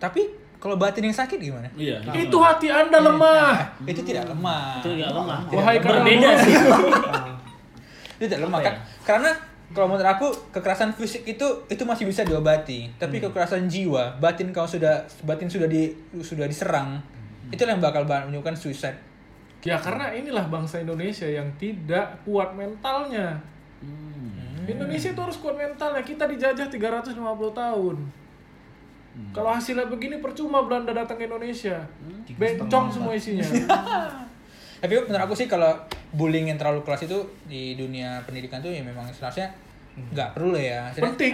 Tapi kalau batin yang sakit gimana? Iya. itu hati anda lemah. Itu tidak lemah. Itu ya. nggak lemah. Wahai karena Hmm. Berbeda lemah. sih. Itu tidak lemah Apa ya? kan? Karena kalau menurut aku kekerasan fisik itu itu masih bisa diobati, tapi Hmm. kekerasan jiwa, batin kau sudah batin sudah di sudah diserang, Hmm. itu yang bakal ba- menyebabkan suicide. Ya karena inilah bangsa Indonesia yang tidak kuat mentalnya. Hmm. Indonesia itu harus kuat mentalnya. Kita dijajah 350 tahun. Hmm. Kalau hasilnya begini percuma Belanda datang ke Indonesia. Bencong semua [laughs] isinya. Tapi menurut aku sih kalau bullying yang terlalu keras itu di dunia pendidikan tuh ya memang seharusnya Hmm. nggak perlu lah ya. Seharusnya- Penting.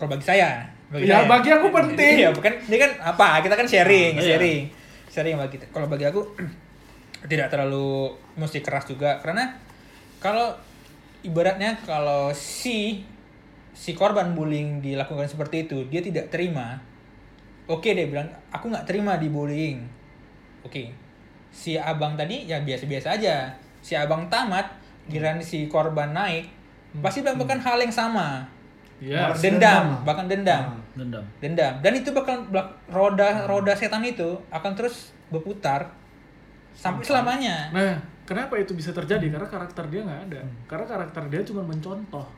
Kalau bagi saya. Ya, bagi aku penting. Oh, Iya, bukan ini kan apa? Kita kan sharing, Iya. sharing. Sharing bagi kita. Kalau bagi aku [clears throat] tidak terlalu mesti keras juga karena kalau ibaratnya kalau si si korban bullying dilakukan seperti itu, dia tidak terima. Oke dia bilang, aku nggak terima dibullying. Oke. Si abang tadi ya biasa-biasa aja. Si abang tamat, giliran si korban naik, pasti Hmm. bilang bahkan hal yang sama. Ya, Balas dendam, dendam. bahkan dendam Hmm. Dendam. dendam dan itu bakal belak- roda roda setan itu akan terus berputar sampai selamanya Nah, kenapa itu bisa terjadi? Karena karakter dia nggak ada. Karena karakter dia cuma mencontoh,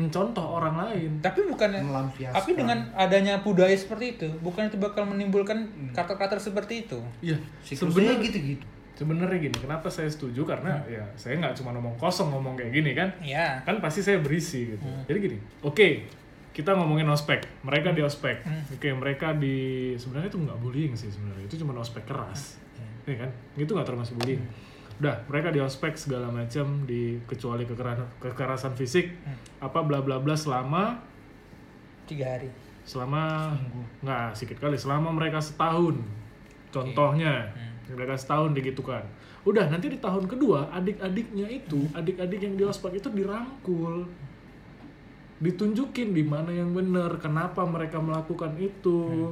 mencontoh orang lain. tapi bukan Melampiaskan. tapi dengan adanya budaya seperti itu bukan itu bakal menimbulkan Hmm. karakter-karakter seperti itu Iya, Sebenarnya sebenarnya gitu-gitu. sebenarnya gini. Kenapa saya setuju? Karena ya saya nggak cuma ngomong kosong ngomong kayak gini kan. ya Kan pasti saya berisi gitu. Jadi gini, oke. kita ngomongin ospek, mereka di ospek, oke mereka di sebenarnya itu nggak bullying sih sebenarnya, itu cuma ospek keras, Iya kan, itu nggak termasuk bullying. udah mereka di ospek segala macam di kecuali kekerasan, kekerasan fisik apa bla bla bla selama tiga hari selama nggak sedikit kali selama mereka setahun contohnya mereka setahun digitukan udah nanti di tahun kedua adik-adiknya itu adik-adik yang di ospek itu dirangkul ditunjukin di mana yang benar kenapa mereka melakukan itu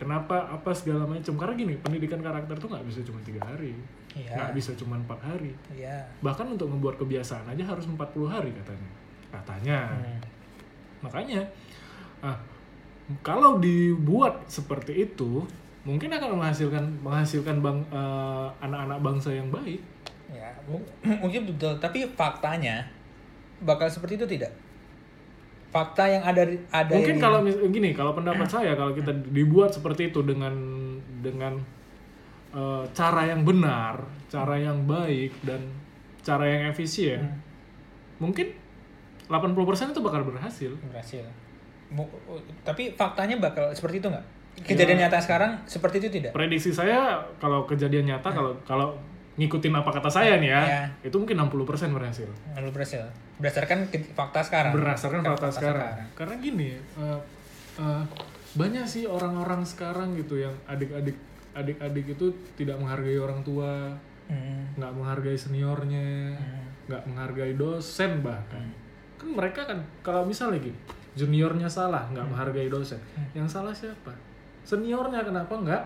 kenapa apa segala macam karena gini pendidikan karakter tuh nggak bisa cuma tiga hari nggak iya bisa cuma empat hari iya bahkan untuk membuat kebiasaan aja harus 40 hari katanya katanya Hmm. Makanya, ah, kalau dibuat seperti itu, mungkin akan menghasilkan menghasilkan bang eh, anak-anak bangsa yang baik. ya mu- [clears throat] mungkin betul tapi faktanya bakal seperti itu tidak fakta yang ada ada mungkin ini- kalau mis- gini, kalau pendapat saya, kalau kita dibuat seperti itu dengan dengan eh, cara yang benar, cara yang baik dan cara yang efisien, mungkin 80% itu bakal berhasil. berhasil Mu- tapi faktanya bakal seperti itu nggak Iya. kejadian nyata sekarang seperti itu tidak prediksi saya kalau kejadian nyata kalau kalau ngikutin apa kata saya nih ya, Ya. itu mungkin 60% berhasil lalu berhasil berdasarkan ke- fakta sekarang berdasarkan fakta sekarang. Karena gini, eh, eh, banyak sih orang-orang sekarang gitu yang adik-adik adik-adik itu tidak menghargai orang tua, Hmm. nggak menghargai seniornya, nggak menghargai dosen bahkan. Kan mereka kan kalau misal lagi juniornya salah, nggak menghargai dosen. Yang salah siapa? Seniornya kenapa nggak?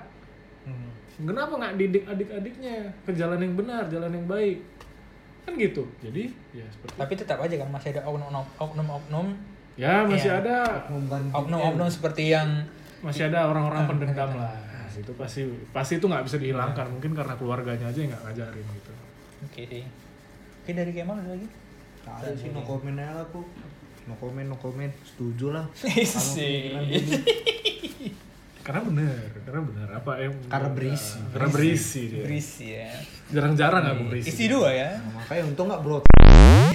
Hmm. Kenapa nggak didik adik-adiknya ke jalan yang benar, jalan yang baik? Kan gitu. Jadi ya seperti tapi tetap aja kan masih ada oknum oknum oknum ya masih ada oknum oknum seperti yang masih ada orang-orang pendendam lah. Nah, Itu pasti pasti itu nggak bisa dihilangkan. Mungkin karena keluarganya aja yang nggak ngajarin gitu. oke sih oke dari Kemal ada lagi Nggak ada sih no comment aja lah aku no comment no comment setuju lah sih Karena bener, karena bener apa yang Karena berisi. Karena berisi dia. berisi ya Jarang-jarang aku berisi. isi dua [laughs] ya nah, makanya untung nggak bro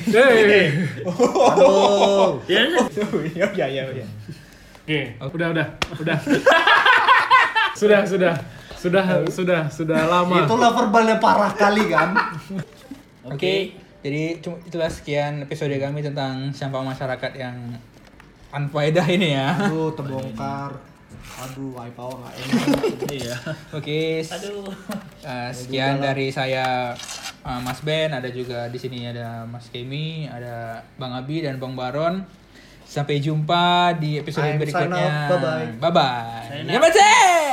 Hey. Aduh. ya ya ya ya Oke, udah udah udah. [laughs] sudah sudah sudah sudah sudah lama. itulah verbalnya parah kali kan Oke, jadi cum- itulah sekian episode kami tentang sampah masyarakat yang unfaedah ini ya. aduh terbongkar aduh wipeout nggak enak [laughs] Iya. Oke, s- Aduh. eh, sekian dari saya eh, Mas Ben, ada juga di sini ada Mas Kemi, ada Bang Abi dan Bang Baron. Sampai jumpa di episode I'm sign berikutnya. Ya, off. Bye-bye. Bye bye. Sign Yamase!